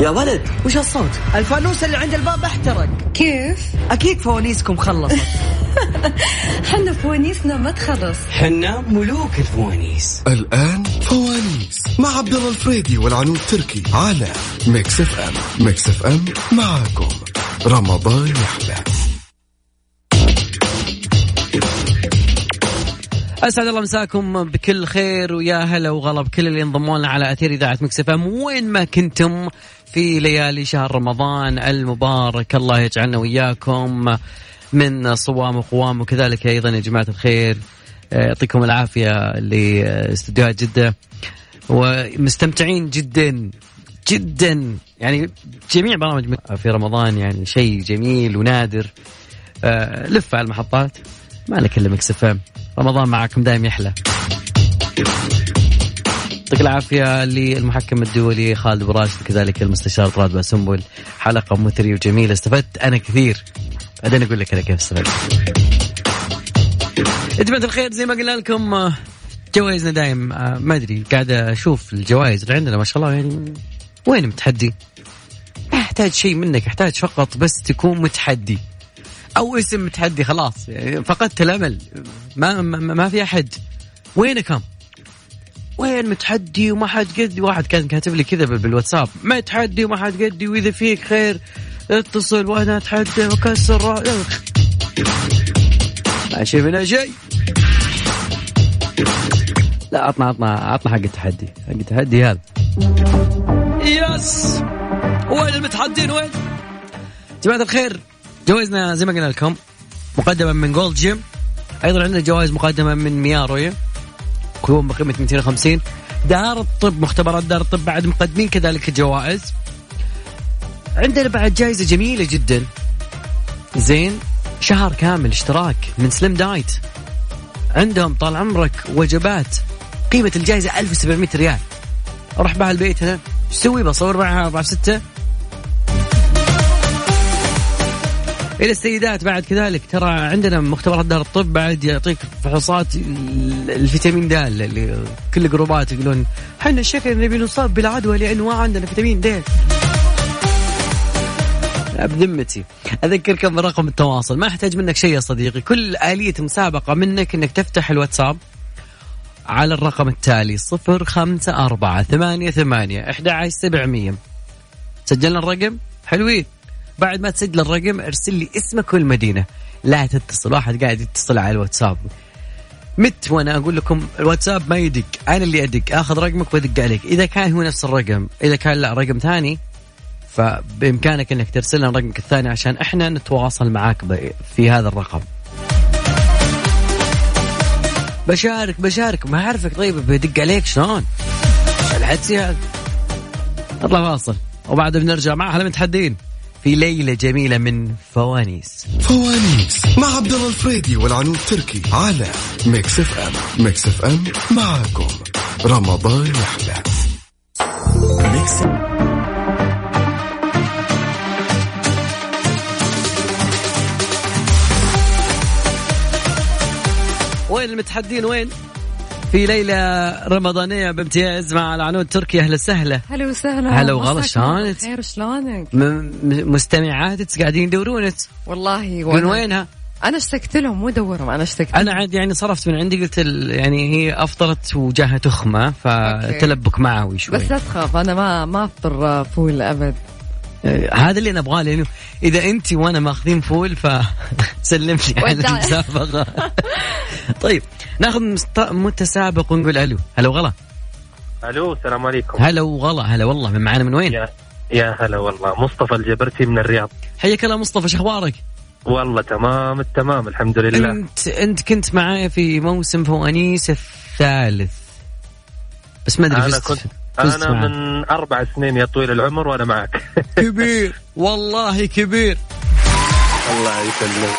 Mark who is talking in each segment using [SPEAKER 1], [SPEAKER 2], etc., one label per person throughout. [SPEAKER 1] يا ولد وش هالصوت
[SPEAKER 2] الفانوس اللي عند الباب احترق
[SPEAKER 3] كيف؟
[SPEAKER 2] اكيد فوانيسكم خلصت
[SPEAKER 3] حنا فوانيسنا ما تخلص
[SPEAKER 4] حنا ملوك الفوانيس
[SPEAKER 5] الآن فوانيس مع عبد الله الفريدي والعنود تركي على ميكس اف ام ميكس اف ام معاكم رمضان يحلى
[SPEAKER 1] اسعد الله مساكم بكل خير ويا هلا وغلا بكل اللي انضموا لنا على اثير اذاعه مكسف ام وين ما كنتم في ليالي شهر رمضان المبارك الله يجعلنا وياكم من صوام وقوام وكذلك ايضا يا جماعه الخير آه، يعطيكم العافيه لاستديوهات جده ومستمتعين جدا جدا يعني جميع برامج في رمضان يعني شيء جميل ونادر آه، لف على المحطات ما لك الا مكس اف ام رمضان معاكم دايم يحلى يعطيك العافية للمحكم الدولي خالد براشد وكذلك المستشار طراد باسنبل حلقة مثرية وجميلة استفدت أنا كثير بعدين أقول لك أنا كيف استفدت يا جماعة الخير زي ما قلنا لكم آه، جوائزنا دايم آه، ما أدري قاعد أشوف الجوائز اللي عندنا ما شاء الله يعني وين متحدي؟ ما أحتاج شيء منك أحتاج فقط بس تكون متحدي او اسم متحدي خلاص يعني فقدت الامل ما ما, ما في احد وينكم؟ وين متحدي وما حد قدي واحد كان كاتب لي كذا بال- بالواتساب متحدي وما حد قدي واذا فيك خير اتصل وانا اتحدى واكسر رأ- يا أخي. ما شيء منها شيء لا عطنا عطنا عطنا حق التحدي حق التحدي هذا يس وين المتحدين وين؟ جماعة الخير جوائزنا زي ما قلنا لكم مقدمة من جولد جيم أيضا عندنا جوائز مقدمة من ميارويا كلهم بقيمة 250 دار الطب مختبرات دار الطب بعد مقدمين كذلك الجوائز عندنا بعد جائزة جميلة جدا زين شهر كامل اشتراك من سليم دايت عندهم طال عمرك وجبات قيمة الجائزة 1700 ريال أروح بها البيت هنا شو أسوي بصور معها 4 في 6 الى السيدات بعد كذلك ترى عندنا مختبرات دار الطب بعد يعطيك فحوصات ال- الفيتامين د اللي كل جروبات يقولون احنا شكلنا نبي نصاب بالعدوى لانه ما عندنا فيتامين د لا، بذمتي اذكركم برقم التواصل ما احتاج منك شيء يا صديقي كل اليه مسابقه منك انك تفتح الواتساب على الرقم التالي 054 88 11700 سجلنا الرقم حلوين بعد ما تسجل الرقم ارسل لي اسمك والمدينه لا تتصل واحد قاعد يتصل على الواتساب مت وانا اقول لكم الواتساب ما يدق انا اللي ادق اخذ رقمك وادق عليك اذا كان هو نفس الرقم اذا كان لا رقم ثاني فبامكانك انك ترسل لنا رقمك الثاني عشان احنا نتواصل معاك ب- في هذا الرقم بشارك بشارك ما اعرفك طيب بدق عليك شلون؟ الحدسي هذا نطلع فاصل وبعد بنرجع مع احلى متحدين في ليله جميله من فوانيس
[SPEAKER 5] فوانيس مع عبد الله الفريدي والعنود تركي على ميكس اف ام ميكس اف ام معاكم رمضان يحلى
[SPEAKER 1] وين المتحدين وين؟ في ليله رمضانيه بامتياز مع العنود تركي اهلا وسهلا
[SPEAKER 3] هلا وسهلا
[SPEAKER 1] هلا وغلا،
[SPEAKER 3] مساك
[SPEAKER 1] شلونك؟
[SPEAKER 3] الله خير شلونك؟
[SPEAKER 1] م- م- مستمعات قاعدين يدورونك
[SPEAKER 3] والله
[SPEAKER 1] من
[SPEAKER 3] وأنا-
[SPEAKER 1] وينها؟
[SPEAKER 3] انا اشتقت لهم مو دورهم انا اشتقت
[SPEAKER 1] انا عاد يعني صرفت من عندي قلت ال- يعني هي افطرت وجاها تخمه فتلبك معوي شوي
[SPEAKER 3] بس لا تخاف انا ما ما افطر فول ابد
[SPEAKER 1] آه، هذا اللي انا ابغاه لانه اذا انت وانا ماخذين فول فسلم لي على
[SPEAKER 3] وداع.
[SPEAKER 1] المسابقه طيب ناخذ مست- متسابق ونقول الو هلا وغلا
[SPEAKER 6] الو السلام عليكم
[SPEAKER 1] هلا وغلا هلا والله من معانا من وين؟
[SPEAKER 6] يا يا هلا والله مصطفى الجبرتي من الرياض
[SPEAKER 1] حياك الله مصطفى شو اخبارك؟
[SPEAKER 6] والله تمام التمام الحمد لله
[SPEAKER 1] انت انت كنت معايا في موسم فوانيس الثالث بس ما ادري
[SPEAKER 6] انا
[SPEAKER 1] فزت-
[SPEAKER 6] كنت
[SPEAKER 1] فزت
[SPEAKER 6] انا
[SPEAKER 1] معاك.
[SPEAKER 6] من اربع سنين يا طويل العمر وانا معك
[SPEAKER 1] كبير والله كبير
[SPEAKER 6] الله يسلمك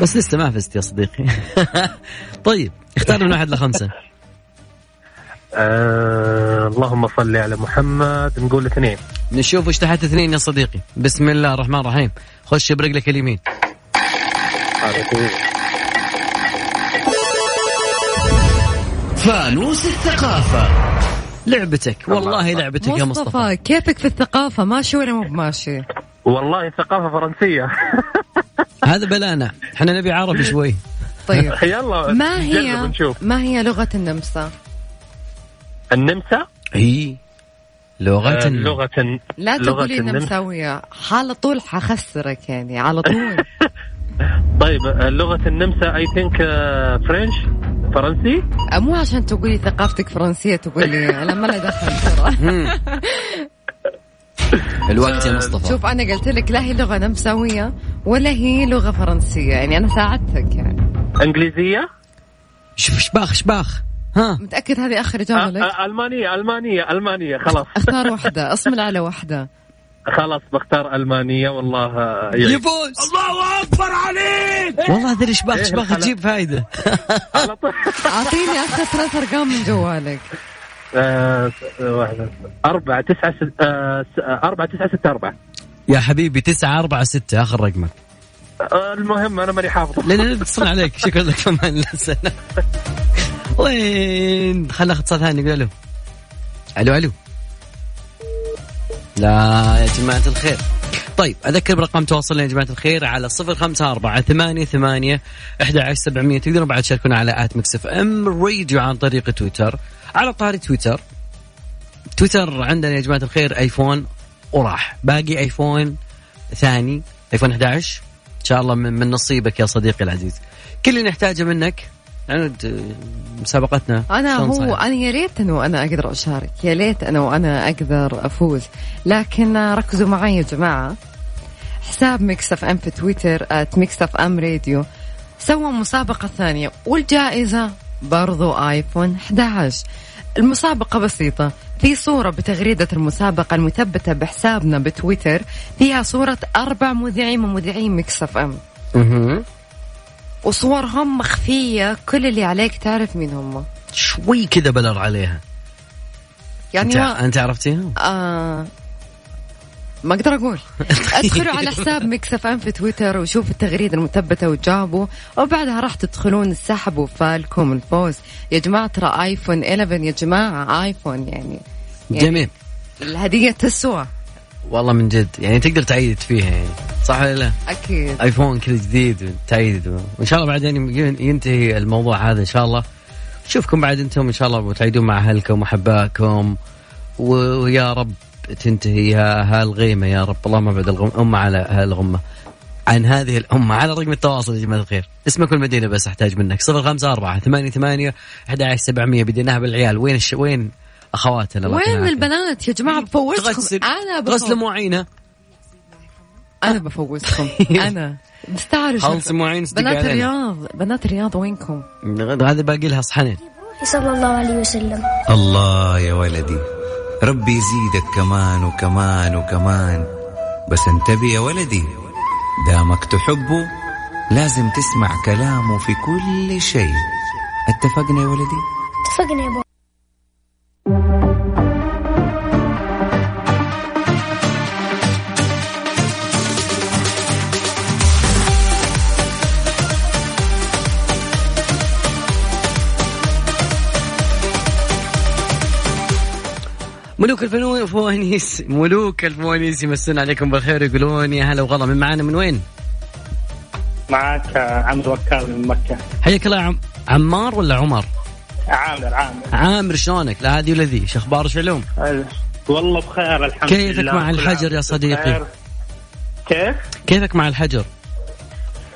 [SPEAKER 1] بس لسه ما فزت يا صديقي طيب اختار من واحد لخمسه
[SPEAKER 6] آه اللهم صل على محمد نقول اثنين
[SPEAKER 1] نشوف وش تحت اثنين يا صديقي بسم الله الرحمن الرحيم خش برجلك اليمين
[SPEAKER 4] فانوس الثقافة
[SPEAKER 1] لعبتك والله لعبتك يا مصطفى
[SPEAKER 3] مصطفى كيفك في الثقافة ماشي ولا مو بماشي؟
[SPEAKER 6] والله ثقافه فرنسيه
[SPEAKER 1] هذا بلانا احنا نبي عربي شوي
[SPEAKER 3] طيب
[SPEAKER 6] يلا
[SPEAKER 3] ما
[SPEAKER 6] نجرب
[SPEAKER 3] هي
[SPEAKER 6] ونشوف
[SPEAKER 3] ما هي لغة النمسا؟
[SPEAKER 6] النمسا
[SPEAKER 1] هي لغة
[SPEAKER 6] آه، لغه
[SPEAKER 3] لا
[SPEAKER 6] لغة
[SPEAKER 3] تقولي
[SPEAKER 6] النمسا.
[SPEAKER 3] نمساوية على طول حخسرك يعني على طول
[SPEAKER 6] طيب آه، لغه النمسا اي ثينك فرنش فرنسي
[SPEAKER 3] مو عشان تقولي ثقافتك فرنسية تقولي أنا ما لي دخل ترى
[SPEAKER 1] الوقت يا مصطفى
[SPEAKER 3] شوف أنا قلت لك لا هي لغة نمساوية ولا هي لغة فرنسية يعني أنا ساعدتك يعني
[SPEAKER 6] انجليزيه
[SPEAKER 1] شوف شباخ شباخ ها
[SPEAKER 3] متأكد هذه آخر
[SPEAKER 6] آه،
[SPEAKER 3] جولة لك
[SPEAKER 6] آه، المانيه المانيه المانيه خلاص
[SPEAKER 3] اختار واحدة اصمل على واحدة
[SPEAKER 6] خلاص بختار المانيه والله آه، يعيش.
[SPEAKER 1] يفوز الله اكبر عليك والله ذي شباخ
[SPEAKER 6] إيه
[SPEAKER 1] شباخ
[SPEAKER 6] الحلاوة؟
[SPEAKER 1] تجيب فايده
[SPEAKER 6] على طول
[SPEAKER 3] أعطيني آخر ثلاث أرقام من جوالك
[SPEAKER 6] آه، واحدة. أربعة تسعة ست- آه، س- آه، أربعة تسعة ستة أربعة
[SPEAKER 1] يا حبيبي 9 4 6 اخر رقمك
[SPEAKER 6] آه، المهم أنا ماني حافظه
[SPEAKER 1] لان نتصل عليك شكرا لك كمان للسنه وين خلنا اتصال ثاني نقول الو الو الو لا يا جماعة الخير طيب أذكر برقم تواصلنا يا جماعة الخير على صفر خمسة أربعة ثمانية ثمانية أحد عشر سبعمية تقدرون بعد تشاركونا على آت مكسف أم راديو عن طريق تويتر على طاري تويتر تويتر عندنا يا جماعة الخير ايفون وراح باقي ايفون ثاني ايفون 11 ان شاء الله من, من نصيبك يا صديقي العزيز كل اللي نحتاجه منك عند آه، مسابقتنا
[SPEAKER 3] أنا
[SPEAKER 1] شلون
[SPEAKER 3] هو
[SPEAKER 1] صاير؟
[SPEAKER 3] أنا يا ريت أنه أنا أقدر أشارك يا ريت أنا وأنا أقدر أفوز لكن ركزوا معي يا جماعة حساب مكسف أم في تويتر at مكسف أم راديو سووا مسابقة ثانية والجائزة برضو آيفون 11 المسابقة بسيطة في صورة بتغريدة المسابقة المثبتة بحسابنا بتويتر فيها صورة أربع مذيعين من مذيعين مكسف أم
[SPEAKER 1] مهم.
[SPEAKER 3] وصورهم مخفية كل اللي عليك تعرف مين هم
[SPEAKER 1] شوي كذا بلر عليها
[SPEAKER 3] يعني
[SPEAKER 1] انت,
[SPEAKER 3] ما
[SPEAKER 1] انت عرفتيها
[SPEAKER 3] آه ما اقدر اقول ادخلوا على حساب ميكس اف ام في تويتر وشوفوا التغريده المثبته وجابوا وبعدها راح تدخلون تسحبوا فالكم الفوز يا جماعه ترى ايفون 11 يا جماعه ايفون يعني يعني
[SPEAKER 1] جميل
[SPEAKER 3] الهديه تسوى
[SPEAKER 1] والله من جد يعني تقدر تعيد فيها يعني صح ولا لا؟
[SPEAKER 3] اكيد
[SPEAKER 1] ايفون كذا جديد تعيد وان شاء الله بعد يعني ينتهي الموضوع هذا ان شاء الله شوفكم بعد انتم ان شاء الله وتعيدون مع اهلكم واحبائكم ويا رب تنتهي ها- هالغيمه يا رب اللهم ابعد الامه على هالغمه عن هذه الأمة على رقم التواصل يا جماعة الخير اسمك والمدينة بس أحتاج منك صفر خمسة أربعة ثمانية ثمانية أحد عشر سبعمية بديناها بالعيال وين الش... وين أخواتنا الله
[SPEAKER 3] وين
[SPEAKER 1] يعافيها؟
[SPEAKER 3] البنات يا جماعه بفوزكم
[SPEAKER 1] تغسل
[SPEAKER 3] انا
[SPEAKER 1] غسل
[SPEAKER 3] بفوز
[SPEAKER 1] مواعينه
[SPEAKER 3] انا بفوزكم انا مستعرف
[SPEAKER 1] خلص مواعين صدق
[SPEAKER 3] بنات
[SPEAKER 1] علينا.
[SPEAKER 3] الرياض بنات الرياض وينكم
[SPEAKER 1] هذا باقي لها صحنين
[SPEAKER 7] صلى الله عليه وسلم
[SPEAKER 8] الله يا ولدي ربي يزيدك كمان وكمان وكمان بس انتبه يا ولدي دامك تحبه لازم تسمع كلامه في كل شيء اتفقنا يا ولدي؟
[SPEAKER 7] اتفقنا يا بابا
[SPEAKER 1] ملوك الفنون الفوانيس ملوك الفوانيس يمسون عليكم بالخير يقولون يا هلا وغلا من معانا من وين؟
[SPEAKER 9] معك عمرو وكال من مكة
[SPEAKER 1] حياك الله يا عم... عمار ولا عمر؟
[SPEAKER 9] عامر عامر
[SPEAKER 1] عامر شلونك؟ لا هذه ولا ذي، شو اخبار وش علوم؟
[SPEAKER 9] والله بخير الحمد
[SPEAKER 1] كيفك
[SPEAKER 9] لله
[SPEAKER 1] مع
[SPEAKER 9] كل
[SPEAKER 1] الحجر
[SPEAKER 9] عام
[SPEAKER 1] يا صديقي؟
[SPEAKER 9] بخير. كيف؟
[SPEAKER 1] كيفك مع الحجر؟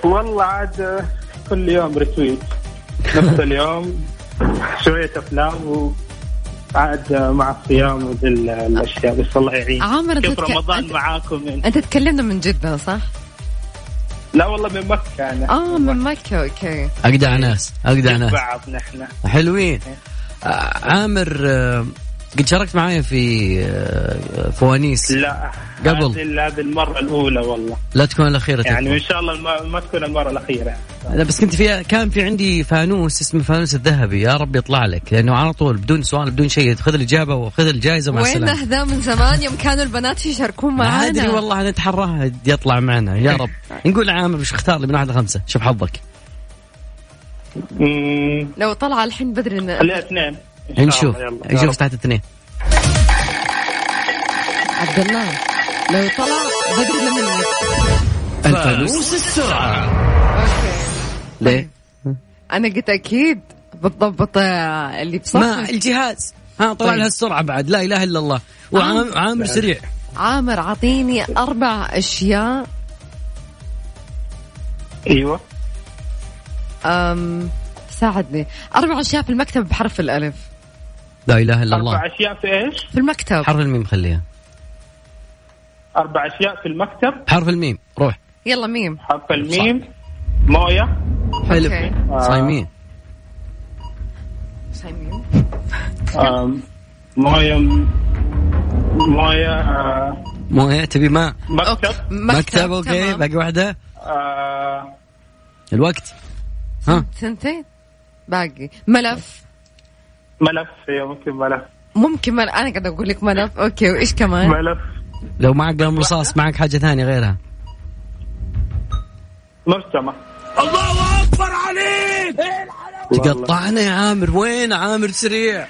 [SPEAKER 9] والله عاد كل يوم رتويت نفس اليوم شوية أفلام و عاد مع الصيام وذي ال- الأشياء بس الله يعين
[SPEAKER 3] عامر، أنت
[SPEAKER 9] كيف
[SPEAKER 3] تك-
[SPEAKER 9] رمضان
[SPEAKER 3] أنت-
[SPEAKER 9] معاكم يعني.
[SPEAKER 3] انت تكلمنا من جدة صح؟
[SPEAKER 9] لا والله من مكة أنا
[SPEAKER 3] اه من مكة اوكي
[SPEAKER 1] اجدع ناس اجدع
[SPEAKER 9] مع
[SPEAKER 1] ناس
[SPEAKER 9] بعض نحن
[SPEAKER 1] حلوين
[SPEAKER 9] إيه.
[SPEAKER 1] آه، عامر آه، قد شاركت معايا في آه، فوانيس
[SPEAKER 9] لا
[SPEAKER 1] قبل.
[SPEAKER 9] هذه- هذه المرة الأولى والله
[SPEAKER 1] لا تكون الاخيره
[SPEAKER 9] يعني
[SPEAKER 1] تكون.
[SPEAKER 9] وإن شاء الله الم- ما تكون المرة الأخيرة يعني.
[SPEAKER 1] لا بس كنت في كان في عندي فانوس اسمه فانوس الذهبي يا رب يطلع لك لانه على طول بدون سؤال بدون شيء خذ الاجابه وخذ الجائزه مع
[SPEAKER 3] وين
[SPEAKER 1] السلامه
[SPEAKER 3] هذا من زمان يوم كانوا البنات يشاركون
[SPEAKER 1] ما
[SPEAKER 3] معانا
[SPEAKER 1] ادري والله انا اتحراها يطلع معنا يا رب نقول لعامر وش اختار لي من واحد لخمسه شوف حظك
[SPEAKER 9] أمم،
[SPEAKER 3] لو طلع الحين بدري إن-
[SPEAKER 9] خليها اثنين إن شاء
[SPEAKER 1] نشوف
[SPEAKER 9] الله، يلا. يا
[SPEAKER 1] نشوف
[SPEAKER 9] رب.
[SPEAKER 1] تحت اثنين
[SPEAKER 3] عبد الله لو طلع بدري منك
[SPEAKER 1] الفانوس
[SPEAKER 3] اوكي
[SPEAKER 1] ليه؟
[SPEAKER 3] انا قلت اكيد بتضبط آه، اللي
[SPEAKER 1] ما
[SPEAKER 3] بصفك
[SPEAKER 1] الجهاز ها طلع
[SPEAKER 3] طيب.
[SPEAKER 1] لها السرعه بعد لا اله الا الله وعامر عامر سريع
[SPEAKER 3] عامر عطيني اربع اشياء
[SPEAKER 9] ايوه
[SPEAKER 3] أم ساعدني اربع اشياء في المكتب بحرف الالف
[SPEAKER 1] لا اله الا
[SPEAKER 9] اربع
[SPEAKER 1] الله
[SPEAKER 9] اشياء في ايش؟
[SPEAKER 3] في المكتب
[SPEAKER 1] حرف الميم خليها
[SPEAKER 9] اربع اشياء في المكتب
[SPEAKER 1] حرف الميم روح
[SPEAKER 3] يلا ميم
[SPEAKER 9] حرف الميم مويه
[SPEAKER 1] حلو
[SPEAKER 3] أوكي.
[SPEAKER 1] صايمين
[SPEAKER 10] آه.
[SPEAKER 3] صايمين.
[SPEAKER 9] آم، مويه مويه آه،
[SPEAKER 1] مو إيه، تبي ماء
[SPEAKER 3] أوكي.
[SPEAKER 9] مكتب
[SPEAKER 1] مكتب اوكي
[SPEAKER 3] تمام.
[SPEAKER 1] باقي واحده
[SPEAKER 9] آه،
[SPEAKER 1] الوقت ها
[SPEAKER 3] سنتين باقي ملف
[SPEAKER 9] ملف إيوه، ممكن ملف
[SPEAKER 3] ممكن مل... انا قاعد اقول لك ملف اوكي وايش كمان
[SPEAKER 9] ملف
[SPEAKER 1] لو معك قلم رصاص معك حاجه ثانيه غيرها
[SPEAKER 9] مرسمه
[SPEAKER 1] تقطعنا يا عامر وين عامر سريع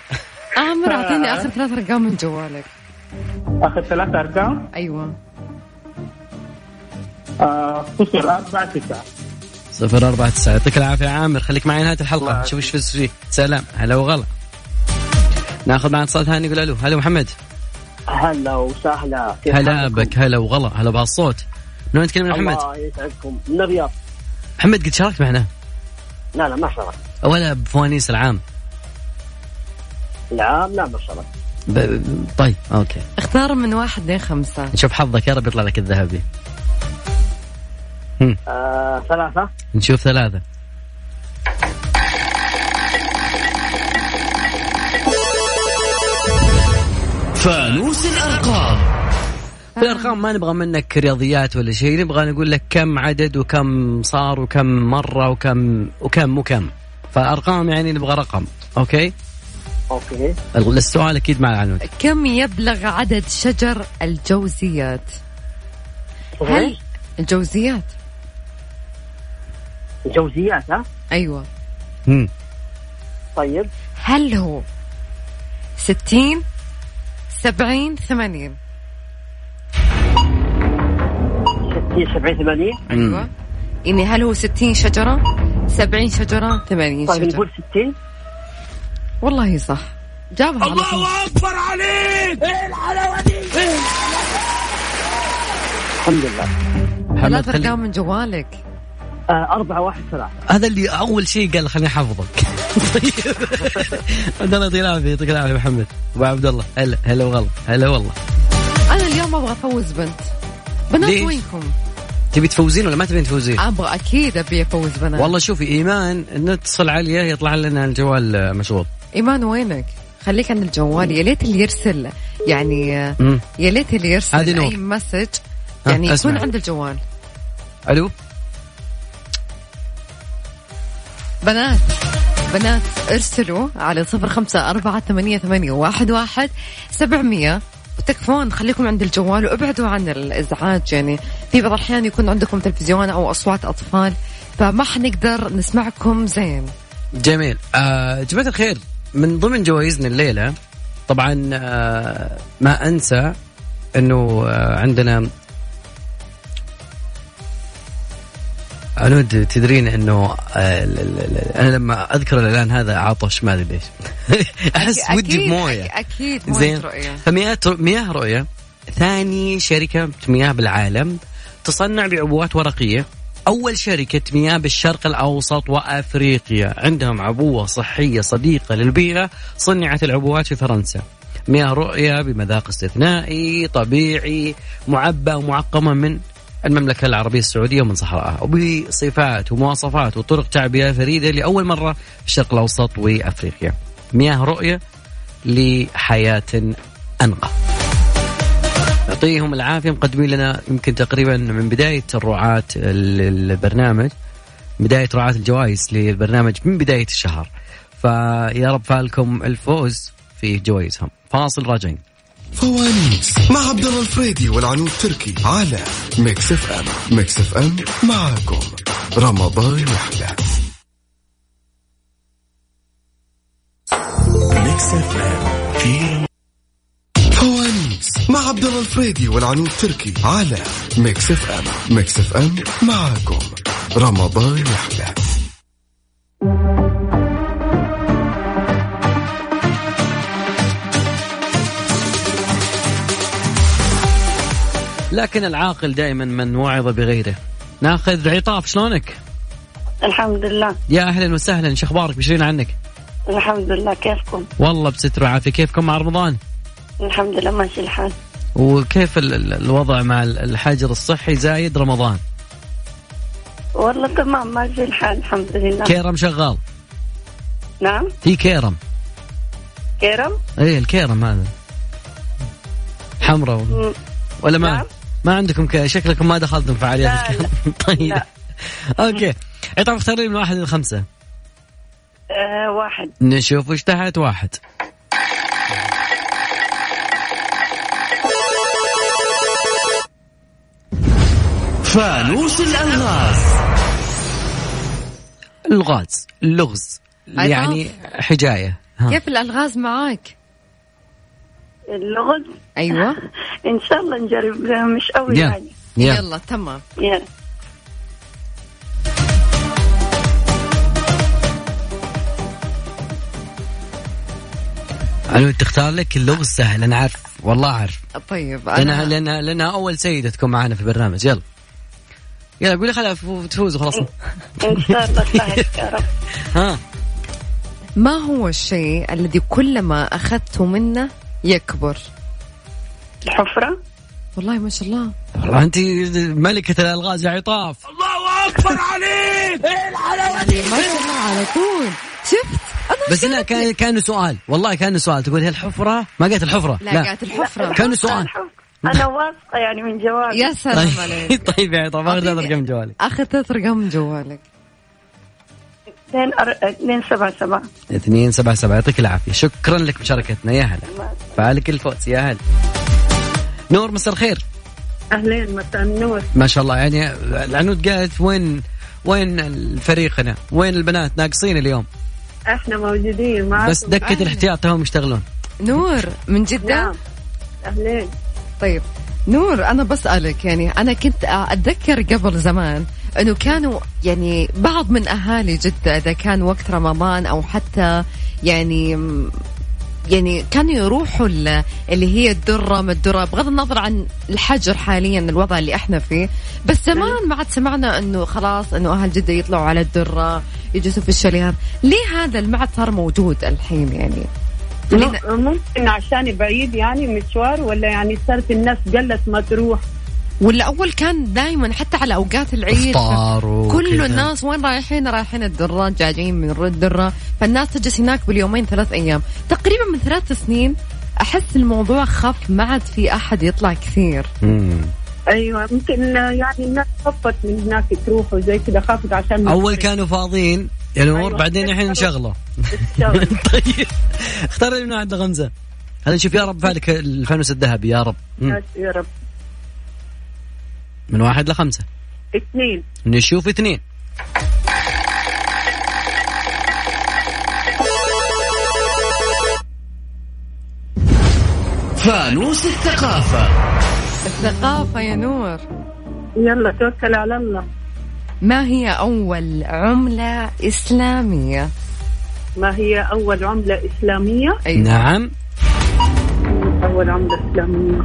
[SPEAKER 3] عامر اعطيني اخر ثلاث ارقام من جوالك
[SPEAKER 9] اخر ثلاث ارقام
[SPEAKER 3] ايوه
[SPEAKER 9] آه، صفر اربعة تسعة
[SPEAKER 1] صفر أربعة تسعة يعطيك العافية يا عامر خليك معي نهاية الحلقة شوف ايش فزت فيه سلام هلا وغلا ناخذ معنا اتصال ثاني يقول الو هلا محمد
[SPEAKER 10] هلا وسهلا كيف
[SPEAKER 1] هلا
[SPEAKER 10] حالكم؟
[SPEAKER 1] بك هلا وغلا هلا بهالصوت من وين تكلمنا محمد؟
[SPEAKER 10] الله يسعدكم من الرياض
[SPEAKER 1] محمد قد شاركت معنا
[SPEAKER 10] لا لا ما شرفت
[SPEAKER 1] ولا بفوانيس العام
[SPEAKER 10] العام لا ما شرفت
[SPEAKER 1] ب... ب- طيب اوكي
[SPEAKER 3] اختار من واحد لخمسة
[SPEAKER 1] نشوف حظك يا رب يطلع لك الذهبي هم،
[SPEAKER 10] آه ثلاثة
[SPEAKER 1] نشوف ثلاثة
[SPEAKER 4] فانوس الأرقام
[SPEAKER 1] في الارقام ما نبغى منك رياضيات ولا شيء نبغى نقول لك كم عدد وكم صار وكم مره وكم وكم وكم فارقام يعني نبغى رقم اوكي
[SPEAKER 10] اوكي
[SPEAKER 1] السؤال اكيد مع العنود
[SPEAKER 3] كم يبلغ عدد شجر الجوزيات هل
[SPEAKER 1] إيه؟
[SPEAKER 10] وإيش؟
[SPEAKER 3] الجوزيات
[SPEAKER 10] الجوزيات ها
[SPEAKER 3] ايوه
[SPEAKER 1] هم،
[SPEAKER 10] طيب
[SPEAKER 3] هل هو 60 70 80
[SPEAKER 10] 60 70 80
[SPEAKER 3] ايوه يعني هل هو 60 شجرة 70 شجرة 80
[SPEAKER 10] طيب
[SPEAKER 3] شجرة
[SPEAKER 10] نقول 60
[SPEAKER 3] والله صح جابها على طول
[SPEAKER 10] الحمد لله
[SPEAKER 1] محمد
[SPEAKER 3] ثلاث
[SPEAKER 1] خلي...
[SPEAKER 3] ارقام من جوالك
[SPEAKER 10] آه 4 1 3
[SPEAKER 1] هذا اللي اول شيء قال خليني احفظك طيب عبد الله يعطيه العافيه يعطيك العافيه محمد ابو عبد الله هلا هلا وغلا هلا والله
[SPEAKER 3] انا اليوم ابغى افوز بنت بنات
[SPEAKER 1] ليش؟
[SPEAKER 3] وينكم
[SPEAKER 1] تبي تفوزين ولا ما تبين تفوزين؟
[SPEAKER 3] ابغى اكيد ابي افوز بنات والله
[SPEAKER 1] والله شوفي ايمان نتصل عليها يطلع لنا الجوال آه، مشغول
[SPEAKER 3] ايمان وينك خليك عند الجوال يا ليت اللي يرسل يعني
[SPEAKER 1] مم.
[SPEAKER 3] يا ليت اللي
[SPEAKER 1] هذه
[SPEAKER 3] يرسل
[SPEAKER 1] نور.
[SPEAKER 3] اي مسج يعني يكون
[SPEAKER 1] أسمع.
[SPEAKER 3] عند الجوال
[SPEAKER 1] الو
[SPEAKER 3] بنات بنات ارسلوا على صفر خمسة أربعة ثمانية ثمانية واحد واحد سبعمية وتكفون خليكم عند الجوال وابعدوا عن الازعاج يعني في بعض الاحيان يكون عندكم تلفزيون او اصوات اطفال فما حنقدر نسمعكم زين
[SPEAKER 1] جميل آه جماعة الخير من ضمن جوائزنا الليلة طبعا آه ما أنسى أنه آه عندنا عنود تدرين انه آه، ال- ال- ال- انا لما اذكر الاعلان هذا عطش ما ادري ليش احس ودي
[SPEAKER 3] أكيد-
[SPEAKER 1] بمويه
[SPEAKER 3] اكيد مويه
[SPEAKER 1] زين
[SPEAKER 3] رؤيه
[SPEAKER 1] فمياه مياه رؤية ثاني شركة مياه بالعالم تصنع بعبوات ورقية أول شركة مياه بالشرق الأوسط وأفريقيا عندهم عبوة صحية صديقة للبيئة صنعت العبوات في فرنسا مياه رؤية بمذاق استثنائي طبيعي معبى ومعقمة من المملكة العربية السعودية ومن صحراءها وبصفات ومواصفات وطرق تعبئة فريدة لأول مرة في الشرق الأوسط وأفريقيا مياه رؤية لحياة أنقى يعطيهم العافية مقدمين لنا يمكن تقريبا من بداية الرعاة ال- البرنامج بداية رعاة الجوائز للبرنامج من بداية الشهر فيا رب فالكم الفوز في جوائزهم فاصل راجعين
[SPEAKER 5] فوانيس مع عبد الله الفريدي والعنود تركي على ميكس اف ام ميكس اف ام معاكم رمضان يحلى ميكس مع عبد الله الفريدي والعنود تركي على ميكس اف ام ميكس اف ام معاكم رمضان يحلى
[SPEAKER 1] لكن العاقل دائما من وعظ بغيره ناخذ عطاف شلونك
[SPEAKER 9] الحمد لله
[SPEAKER 1] يا اهلا وسهلا شو اخبارك بشرين عنك
[SPEAKER 9] الحمد لله كيفكم
[SPEAKER 1] والله بستر وعافيه كيفكم مع رمضان
[SPEAKER 9] الحمد لله ماشي الحال
[SPEAKER 1] وكيف ال- ال- الوضع مع ال- الحجر الصحي زايد رمضان
[SPEAKER 9] والله تمام ماشي الحال الحمد لله
[SPEAKER 1] كيرم شغال
[SPEAKER 9] نعم
[SPEAKER 1] في كيرم
[SPEAKER 9] كرم
[SPEAKER 1] ايه الكيرم هذا حمراء والله.
[SPEAKER 9] م-
[SPEAKER 1] ولا ما
[SPEAKER 9] نعم.
[SPEAKER 1] ما عندكم ك... شكلكم ما دخلتم في فعاليات
[SPEAKER 9] لا،
[SPEAKER 1] الكيرم طيب اوكي عطاف اختار لي من واحد الى خمسه
[SPEAKER 9] آه واحد
[SPEAKER 1] نشوف وش تحت واحد
[SPEAKER 11] فانوس الالغاز
[SPEAKER 1] الغاز اللغز
[SPEAKER 3] عطاف.
[SPEAKER 1] يعني حجايه ها.
[SPEAKER 3] كيف الالغاز معاك؟
[SPEAKER 9] اللغز
[SPEAKER 3] ايوه
[SPEAKER 9] ان شاء الله نجرب مش قوي
[SPEAKER 1] يلا.
[SPEAKER 9] يعني
[SPEAKER 1] يلا
[SPEAKER 3] يلا تمام
[SPEAKER 9] يلا
[SPEAKER 1] انا ودي اختار لك اللغز سهل انا عارف والله عارف
[SPEAKER 3] طيب
[SPEAKER 1] لانها
[SPEAKER 3] انا
[SPEAKER 1] لانها لانها اول سيده تكون معنا في البرنامج يلا يلا قولي خلها فو- تفوز وخلاص
[SPEAKER 9] ان شاء الله سهل يا رب
[SPEAKER 1] ها
[SPEAKER 3] ما هو الشيء الذي كلما اخذته منه يكبر؟
[SPEAKER 9] الحفرة
[SPEAKER 3] والله ما شاء الله
[SPEAKER 1] والله انت ملكه الالغاز يا عطاف
[SPEAKER 3] ما شاء الله على طول شفت انا
[SPEAKER 1] بس انها كان كان سؤال والله كان سؤال تقول هي الحفره ما قالت الحفره
[SPEAKER 3] لا قالت الحفره
[SPEAKER 1] كان سؤال
[SPEAKER 9] انا واثقة يعني من جوابي
[SPEAKER 3] يا سلام
[SPEAKER 1] طيب,
[SPEAKER 3] عليك
[SPEAKER 1] طيب يا عطاف اخذ هذا رقم جوالك
[SPEAKER 3] اخذت رقم جوالك
[SPEAKER 9] اثنين أر- اثنين سبعة سبعة
[SPEAKER 1] 277 يعطيك العافيه شكرا لك بشركتنا يا هلا فعلك الفوز يا هلا نور مساء الخير
[SPEAKER 9] اهلين مساء النور
[SPEAKER 1] ما شاء الله يعني العنود قالت وين وين الفريقنا وين البنات ناقصين اليوم
[SPEAKER 9] احنا موجودين
[SPEAKER 1] بس دكة الاحتياط توهم يشتغلون
[SPEAKER 3] نور من جدة
[SPEAKER 9] نعم. اهلين
[SPEAKER 3] طيب نور انا بسالك يعني انا كنت اتذكر قبل زمان انه كانوا يعني بعض من اهالي جده اذا كان وقت رمضان او حتى يعني يعني كانوا يروحوا ال- اللي هي الدره ما الدره بغض النظر عن الحجر حاليا الوضع اللي احنا فيه بس زمان ما عاد سمعنا انه خلاص انه اهل جده يطلعوا على الدره يجلسوا في الشاليهات ليه هذا المعد صار موجود الحين يعني
[SPEAKER 1] نعم.
[SPEAKER 3] خلينا-
[SPEAKER 9] ممكن عشان بعيد يعني مشوار ولا يعني صارت الناس قلت ما تروح
[SPEAKER 3] ولا اول كان دائما حتى على اوقات العيد
[SPEAKER 1] افطار
[SPEAKER 3] كل
[SPEAKER 1] وكذا.
[SPEAKER 3] الناس وين رايحين رايحين الدرة جايين من الدرة فالناس تجلس هناك باليومين ثلاث أيام تقريبا من ثلاث سنين أحس الموضوع خف ما عاد في أحد يطلع كثير
[SPEAKER 1] مم.
[SPEAKER 9] ايوه ممكن يعني الناس خفت من هناك تروح وزي كذا خافت عشان
[SPEAKER 1] اول كانوا فاضيين يا نور
[SPEAKER 9] أيوة.
[SPEAKER 1] بعدين الحين انشغلوا
[SPEAKER 9] الشغل.
[SPEAKER 1] طيب اختار لي من عند غمزه خلينا نشوف يا رب فالك الفانوس الذهبي يا رب مم.
[SPEAKER 9] يا رب
[SPEAKER 1] من واحد لخمسه
[SPEAKER 9] اثنين
[SPEAKER 1] نشوف اثنين
[SPEAKER 11] فانوس الثقافة
[SPEAKER 3] الثقافة يا نور
[SPEAKER 9] يلا توكل على الله
[SPEAKER 3] ما هي أول عملة إسلامية
[SPEAKER 9] ما هي اول عمله اسلاميه
[SPEAKER 3] أيوة.
[SPEAKER 1] نعم
[SPEAKER 9] اول عمله اسلاميه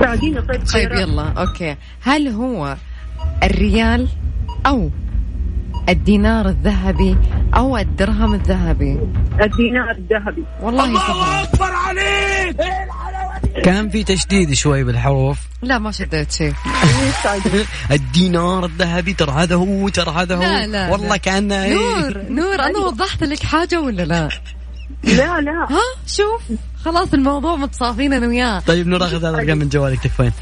[SPEAKER 9] ساعدينا طيب
[SPEAKER 3] طيب
[SPEAKER 9] خيرات.
[SPEAKER 3] يلا أوكي هل هو الريال أو الدينار الذهبي أو الدرهم الذهبي
[SPEAKER 9] الدينار الذهبي
[SPEAKER 3] والله صعب.
[SPEAKER 1] كان في تشديد شوي بالحروف
[SPEAKER 3] لا ما شديت شيء
[SPEAKER 1] الدينار الذهبي ترى هذا هو ترى هذا هو
[SPEAKER 3] طيب. لا، لا،
[SPEAKER 1] والله
[SPEAKER 3] لا.
[SPEAKER 1] كانه
[SPEAKER 3] نور نور انا وضحت لك حاجه ولا لا؟
[SPEAKER 9] لا لا
[SPEAKER 3] ها شوف خلاص الموضوع متصافين انا وياه
[SPEAKER 1] طيب نور اخذ هذا الرقم من جوالك تكفين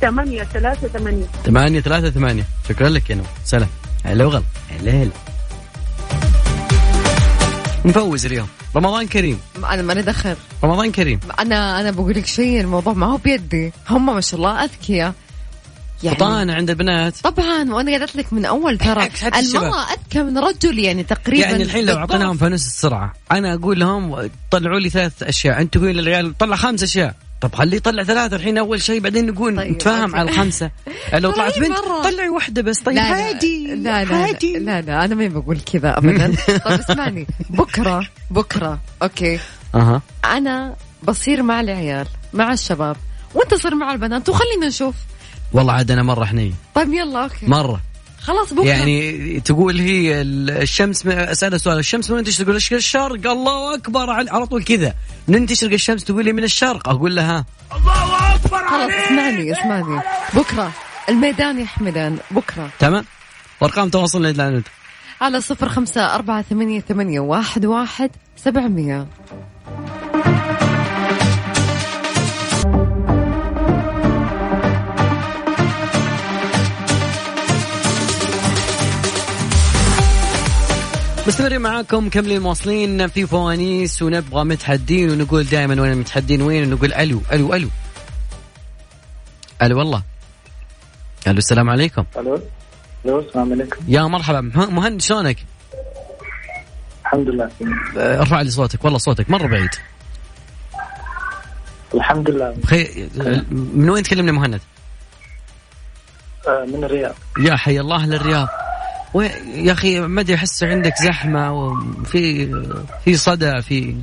[SPEAKER 9] ثمانية ثلاثة ثمانية
[SPEAKER 1] ثمانية ثلاثة ثمانية شكرا لك يا نور سلام هلا وغلا هلا هلا مفوز اليوم رمضان كريم
[SPEAKER 3] انا ما دخل
[SPEAKER 1] رمضان كريم
[SPEAKER 3] انا انا بقول لك شيء الموضوع ما هو بيدي هم ما شاء الله اذكياء يعني
[SPEAKER 1] فطانه عند البنات
[SPEAKER 3] طبعا وانا قالت لك من اول ترى
[SPEAKER 1] عكس حتى الشباب.
[SPEAKER 3] المراه اذكى من رجل يعني تقريبا
[SPEAKER 1] يعني الحين لو
[SPEAKER 3] بالضعف.
[SPEAKER 1] اعطيناهم فانوس السرعه انا اقول لهم طلعوا لي ثلاث اشياء انت تقول للعيال طلع خمس اشياء طب خليه يطلع ثلاثة الحين أول شيء بعدين نقول
[SPEAKER 3] طيب،
[SPEAKER 1] نتفاهم
[SPEAKER 3] أوكي.
[SPEAKER 1] على الخمسة لو
[SPEAKER 3] طلعي
[SPEAKER 1] طلعت بنت
[SPEAKER 3] مرة.
[SPEAKER 1] طلعي واحدة بس طيب
[SPEAKER 3] لا لا
[SPEAKER 1] هادي
[SPEAKER 3] لا لا,
[SPEAKER 1] هادي
[SPEAKER 3] لا لا انا ما بقول كذا ابدا طب اسمعني بكره بكره اوكي
[SPEAKER 1] أها
[SPEAKER 3] انا بصير مع العيال مع الشباب وانت صير مع البنات وخلينا نشوف
[SPEAKER 1] والله عاد أنا مرة حنين
[SPEAKER 3] طيب يلا اوكي
[SPEAKER 1] مرة
[SPEAKER 3] خلاص بكره
[SPEAKER 1] يعني تقول هي ال- الشمس م- اسالها سؤال الشمس من تشرق تقول الشرق الله اكبر على على طول كذا من تشرق الشمس تقول لي من الشرق اقول لها
[SPEAKER 3] خلاص اسمعني اسمعني بكره الميدان يا حمدان بكره
[SPEAKER 1] تمام وارقام تواصلنا للعنود
[SPEAKER 3] على صفر خمسة أربعة ثمانية ثمانية واحد واحد سبعمية
[SPEAKER 1] مستمرين معاكم كملين مواصلين في فوانيس ونبغى متحدين ونقول دائما وين المتحدين وين ونقول الو الو الو الو والله الو السلام عليكم
[SPEAKER 9] الو الو السلام عليكم
[SPEAKER 1] يا مرحبا مه- مهند شلونك؟
[SPEAKER 9] الحمد لله
[SPEAKER 1] آه، ارفع لي صوتك والله صوتك مره بعيد
[SPEAKER 9] الحمد لله
[SPEAKER 1] خي... آه، من وين تكلمني مهند؟
[SPEAKER 9] آه، من الرياض
[SPEAKER 1] يا حي الله للرياض وين يا اخي ما ادري احس عندك زحمه وفي في صدى في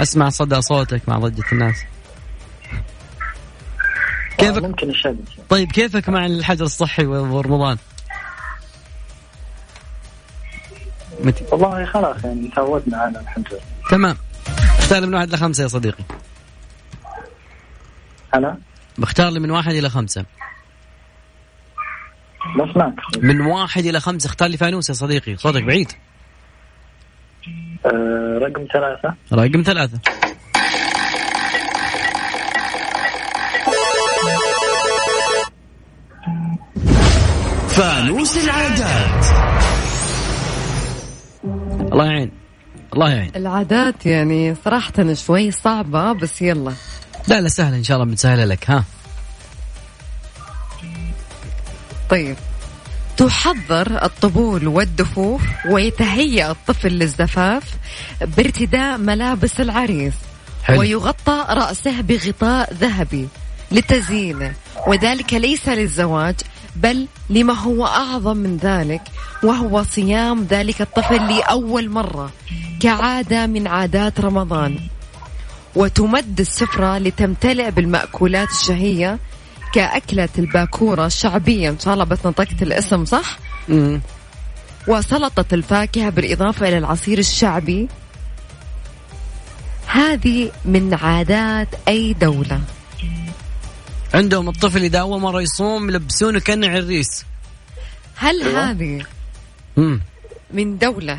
[SPEAKER 1] اسمع صدى صوتك مع ضجه الناس كيفك
[SPEAKER 9] آه، ممكن الشمس
[SPEAKER 1] طيب كيفك مع الحجر الصحي و- ورمضان؟ متى؟
[SPEAKER 9] والله خلاص يعني تعودنا على الحمد لله
[SPEAKER 1] تمام اختار من واحد إلى خمسة يا صديقي
[SPEAKER 9] انا
[SPEAKER 1] اختار لي من واحد إلى خمسة
[SPEAKER 9] ما سمعت
[SPEAKER 1] من واحد إلى خمسة اختار لي فانوس يا صديقي صوتك بعيد
[SPEAKER 9] آه، رقم ثلاثة
[SPEAKER 1] رقم ثلاثة
[SPEAKER 4] فانوس العادات
[SPEAKER 1] الله يعين الله يعين
[SPEAKER 3] العادات يعني صراحة شوي صعبة بس يلا
[SPEAKER 1] لا لا سهل إن شاء الله بنسهلها لك ها
[SPEAKER 3] طيب تحضر الطبول والدفوف ويتهيأ الطفل للزفاف بارتداء ملابس العريس
[SPEAKER 1] حلو.
[SPEAKER 3] ويغطى رأسه بغطاء ذهبي للتزيينه وذلك ليس للزواج بل لما هو أعظم من ذلك وهو صيام ذلك الطفل لأول مرة كعادة من عادات رمضان وتمد السفرة لتمتلئ بالمأكولات الشهية كأكلة الباكورة الشعبية إن شاء الله بس نطقت الاسم صح
[SPEAKER 1] مم.
[SPEAKER 3] وسلطة الفاكهة بالإضافة إلى العصير الشعبي هذه من عادات أي دولة
[SPEAKER 1] عندهم الطفل إذا أول مرة يصوم يلبسونه كأنه عريس
[SPEAKER 3] هل هذه
[SPEAKER 1] مم.
[SPEAKER 3] من دولة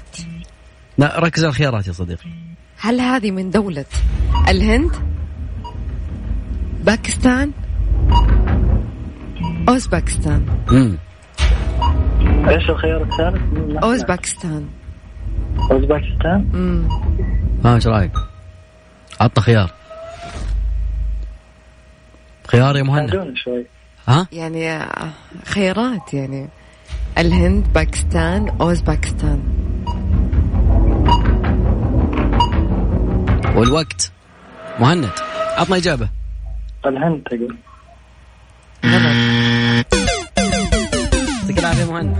[SPEAKER 1] لا ركز على الخيارات يا صديقي
[SPEAKER 3] هل هذه من دولة الهند باكستان أوزباكستان
[SPEAKER 1] مم.
[SPEAKER 9] ايش الخيار الثالث؟ ما سمعت.
[SPEAKER 3] أوزباكستان
[SPEAKER 9] اوزباكستان
[SPEAKER 3] مم.
[SPEAKER 1] ها ايش رايك؟ عطى خيار خيار يا مهند
[SPEAKER 9] بعدون شوي
[SPEAKER 1] ها؟
[SPEAKER 3] يعني خيارات يعني الهند باكستان أوزباكستان
[SPEAKER 1] والوقت مهند عطنا اجابه
[SPEAKER 9] الهند تقول
[SPEAKER 3] غلط
[SPEAKER 1] يعطيك العافيه مهند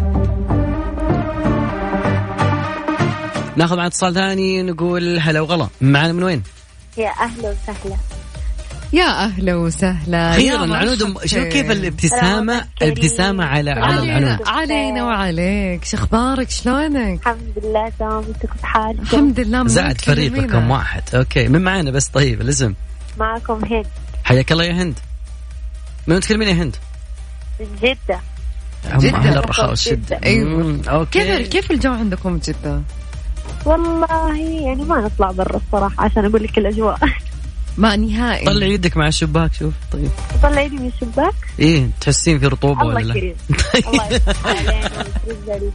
[SPEAKER 1] ناخذ معنا اتصال ثاني نقول هلا وغلا معنا من وين؟
[SPEAKER 7] يا أهلا وسهلا
[SPEAKER 3] يا أهلا وسهلا يا
[SPEAKER 1] اخيرا
[SPEAKER 3] مرحبتين.
[SPEAKER 1] عنود شوف كيف الابتسامه
[SPEAKER 7] سلامك كريم.
[SPEAKER 1] الابتسامه على على
[SPEAKER 3] علينا
[SPEAKER 1] العنود
[SPEAKER 3] علينا وعليك شخبارك شلونك
[SPEAKER 7] الحمد لله تمام انتم بحالكم
[SPEAKER 3] الحمد لله من
[SPEAKER 1] زاد فريقك
[SPEAKER 3] تكلمينا.
[SPEAKER 1] كم واحد اوكي من معنا بس طيب الاسم
[SPEAKER 7] معكم هند
[SPEAKER 1] حياك الله يا هند من وين تكلمين يا هند؟
[SPEAKER 7] من جدة
[SPEAKER 1] هم اهل
[SPEAKER 3] جدة.
[SPEAKER 1] الرخاء والشده
[SPEAKER 3] أيوة.
[SPEAKER 1] مم، اوكي
[SPEAKER 3] كيف كيف الجو عندكم جدة؟
[SPEAKER 7] والله يعني ما نطلع برا الصراحة عشان أقول لك الأجواء
[SPEAKER 3] ما نهائي
[SPEAKER 1] طلع يدك مع الشباك شوف طيب
[SPEAKER 7] طلع يدي من الشباك
[SPEAKER 1] ايه تحسين في رطوبه ولا
[SPEAKER 7] الله
[SPEAKER 1] لا؟
[SPEAKER 7] كريم الله يفتح علينا ويفرج لي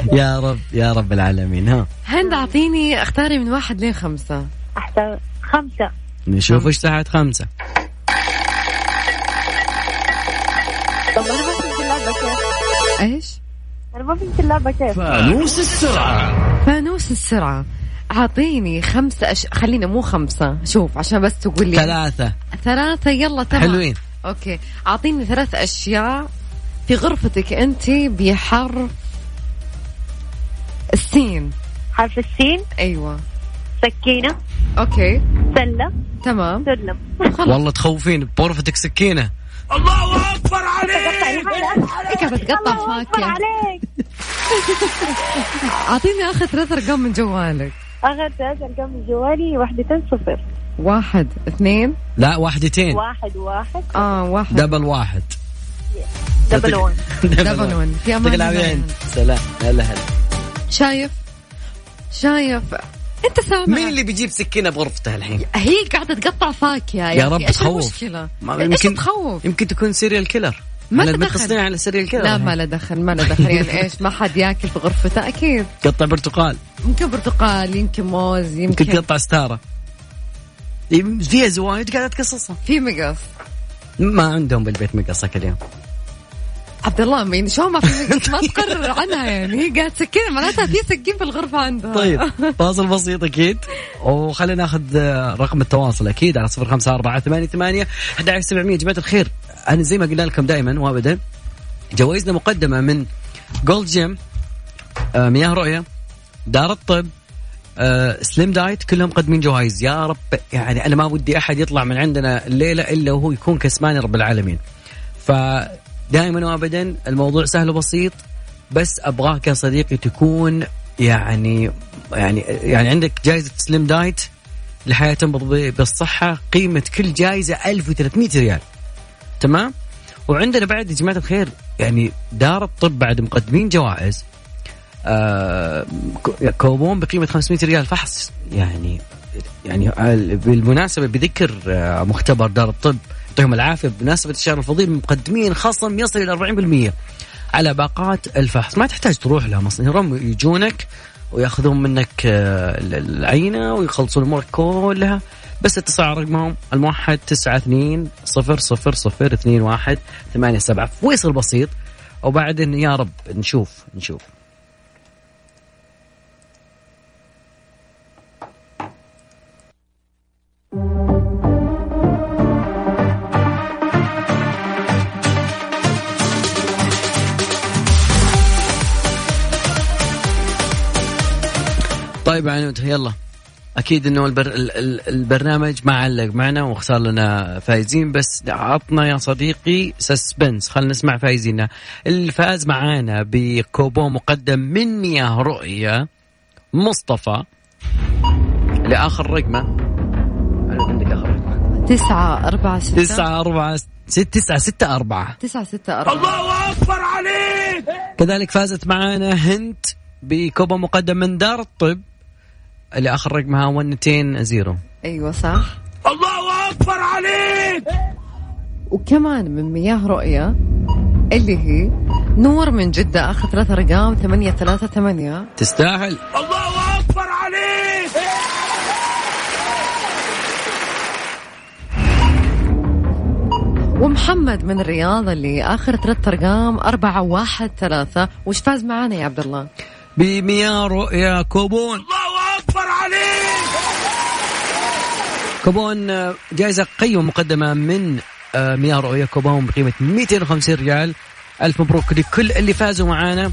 [SPEAKER 7] المرضى
[SPEAKER 1] يا رب يا رب العالمين ها
[SPEAKER 3] هند اعطيني اختاري من واحد لين خمسة
[SPEAKER 7] أحسن خمسة
[SPEAKER 1] نشوف ايش تحت خمسه
[SPEAKER 7] طب أنا ما اللعبة كيف
[SPEAKER 3] ايش؟
[SPEAKER 7] أنا ما فهمت اللعبة كيف
[SPEAKER 4] فانوس السرعة
[SPEAKER 3] فانوس السرعة اعطيني خمسة أش... خلينا مو خمسة شوف عشان بس تقول لي
[SPEAKER 1] ثلاثة
[SPEAKER 3] ثلاثة يلا تمام
[SPEAKER 1] حلوين
[SPEAKER 3] اوكي اعطيني ثلاث اشياء في غرفتك انت بحرف السين
[SPEAKER 7] حرف السين
[SPEAKER 3] ايوه
[SPEAKER 7] سكينة
[SPEAKER 3] اوكي
[SPEAKER 7] سلة
[SPEAKER 3] تمام
[SPEAKER 7] سلم
[SPEAKER 1] والله تخوفين بغرفتك سكينة
[SPEAKER 3] هيك بتقطع فاكهة
[SPEAKER 7] عليك
[SPEAKER 3] اعطيني اخر ثلاث ارقام من جوالك
[SPEAKER 7] أخر ثلاث أرقام من جوالي واحدتين صفر
[SPEAKER 3] واحد اثنين
[SPEAKER 1] لا واحدتين
[SPEAKER 7] واحد واحد
[SPEAKER 3] اه واحد
[SPEAKER 1] دبل واحد
[SPEAKER 7] دبل ون
[SPEAKER 3] دبل ون. في أمان
[SPEAKER 1] يعطيك العافية
[SPEAKER 3] الله.
[SPEAKER 1] أنت. سلام هلا هلا
[SPEAKER 3] شايف شايف انت سامع
[SPEAKER 1] مين اللي بيجيب سكينة بغرفته الحين؟
[SPEAKER 3] هي قاعدة تقطع فاكهة
[SPEAKER 1] يا رب
[SPEAKER 3] ايش
[SPEAKER 1] تخوف.
[SPEAKER 3] المشكلة؟
[SPEAKER 1] ما-
[SPEAKER 3] ايش تخوف؟
[SPEAKER 1] يمكن تكون سيريال كيلر
[SPEAKER 3] ما
[SPEAKER 1] إحنا
[SPEAKER 3] تدخل.
[SPEAKER 1] متصلين على سيريال كيلر
[SPEAKER 3] لا ما له دخل ما له دخل يعني ايش ما حد ياكل في غرفته اكيد
[SPEAKER 1] قطع برتقال
[SPEAKER 3] يمكن برتقال يمكن موز
[SPEAKER 1] يمكن
[SPEAKER 3] يمكن
[SPEAKER 1] تقطع ستارة يم- فيها زوايد قاعدة تقصصها
[SPEAKER 3] في مقص
[SPEAKER 1] ما عندهم بالبيت مقصة كل يوم
[SPEAKER 3] عبد الله مين شو ما في مقص ما تقرر عنها يعني هي قاعد سكينة معناتها في سكين في الغرفة عندها
[SPEAKER 1] طيب فاصل بسيط اكيد وخلينا ناخذ آه، رقم التواصل اكيد على 05488 11700 يا جماعه الخير انا زي ما قلنا لكم دائما وابدا جوائزنا مقدمه من جولد جيم آه، مياه رؤيه دار الطب آه، سليم دايت كلهم مقدمين جوائز يا رب يعني انا ما ودي احد يطلع من عندنا الليله الا وهو يكون كسبان يا رب العالمين فدائما وابدا الموضوع سهل وبسيط بس ابغاك يا صديقي تكون يعني يعني يعني عندك جائزه سليم دايت لحياه تنبض ب- بالصحه قيمه كل جائزه 1300 ريال تمام وعندنا بعد يا جماعه الخير يعني دار الطب بعد مقدمين جوائز آه، كو- كوبون بقيمه 500 ريال فحص يعني يعني ال- بالمناسبه بذكر آه، مختبر دار الطب يعطيهم العافيه بمناسبه الشهر الفضيل مقدمين خصم يصل الى 40% على باقات الفحص ما تحتاج تروح لهم اصلا هم يجونك وياخذون منك آه، ال- العينه ويخلصون امورك كلها بس اتصل على رقمهم الموحد 92 000 21 87 فيصل بسيط وبعدين يا رب نشوف نشوف طيب عنود يلا اكيد انه البر... ال- ال- البرنامج ما علق معنا واختار لنا فايزين بس عطنا يا صديقي سسبنس خلينا نسمع فايزينا الفائز معانا بكوبو مقدم من مياه رؤية مصطفى لاخر رقمه عنود عندك اخر رقمه
[SPEAKER 3] تسعة أربعة ستة
[SPEAKER 1] 9 4 6 9 6 4
[SPEAKER 3] تسعة ستة أربعة
[SPEAKER 1] كذلك فازت معانا هند بكوبو مقدم من دار الطب لاخر رقمها 120
[SPEAKER 3] أيوة صح الله أكبر عليك وكمان من مياه رؤية اللي هي نور من جدة آخر ثلاثة أرقام ثمانية ثلاثة ثمانية
[SPEAKER 1] تستاهل
[SPEAKER 3] ومحمد من الرياض اللي آخر ثلاث أرقام أربعة واحد ثلاثة وش فاز معانا يا عبد الله
[SPEAKER 1] بمياه رؤيا كوبون الله اكبر عليك كوبون آه، جائزة قيمة مقدمة من آه، مياه رؤيا كوبون بقيمة 250 ريال ألف مبروك لكل اللي فازوا معانا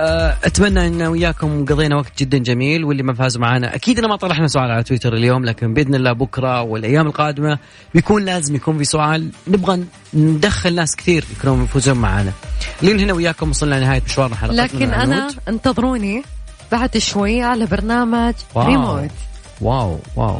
[SPEAKER 1] آه، اتمنى ان وياكم قضينا وقت جدا جميل واللي ما فازوا معانا اكيد انا ما طرحنا سؤال على تويتر اليوم لكن باذن الله بكره والايام القادمه بيكون لازم يكون في سؤال نبغى ندخل ناس كثير يكونون يفوزون معانا لين هنا وياكم وصلنا لنهايه مشوارنا حلقتنا
[SPEAKER 3] لكن
[SPEAKER 1] مع
[SPEAKER 3] أنا
[SPEAKER 1] نوت.
[SPEAKER 3] انتظروني بعد شوي على برنامج
[SPEAKER 1] واو.
[SPEAKER 3] ريموت
[SPEAKER 1] واو واو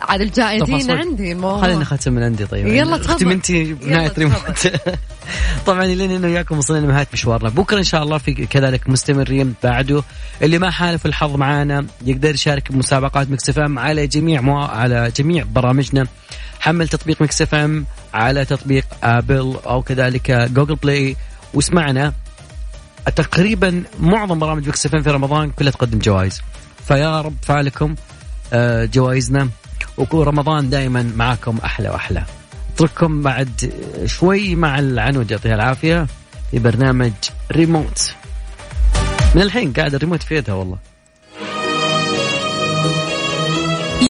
[SPEAKER 3] على الجائزين
[SPEAKER 1] طب أصبر.
[SPEAKER 3] عندي الموضوع
[SPEAKER 1] خلينا ختم من عندي طيب
[SPEAKER 3] يلا
[SPEAKER 1] اختم
[SPEAKER 3] تفضل.
[SPEAKER 1] انت بنهايه
[SPEAKER 3] يلا
[SPEAKER 1] ريموت طبعا لين انا وياكم وصلنا لنهايه مشوارنا بكره ان شاء الله في كذلك مستمرين بعده اللي ما حالف الحظ معانا يقدر يشارك بمسابقات مكس اف ام على جميع مو... على جميع برامجنا حمل تطبيق مكس اف ام على تطبيق ابل او كذلك جوجل بلاي واسمعنا تقريبا معظم برامج مكس اف ام في رمضان كلها تقدم جوائز فيا رب فعلكم آه، جوائزنا وكون رمضان دائما معاكم احلى واحلى اترككم بعد شوي مع العنود يعطيها العافيه في برنامج ريموت من الحين قاعد الريموت في يدها والله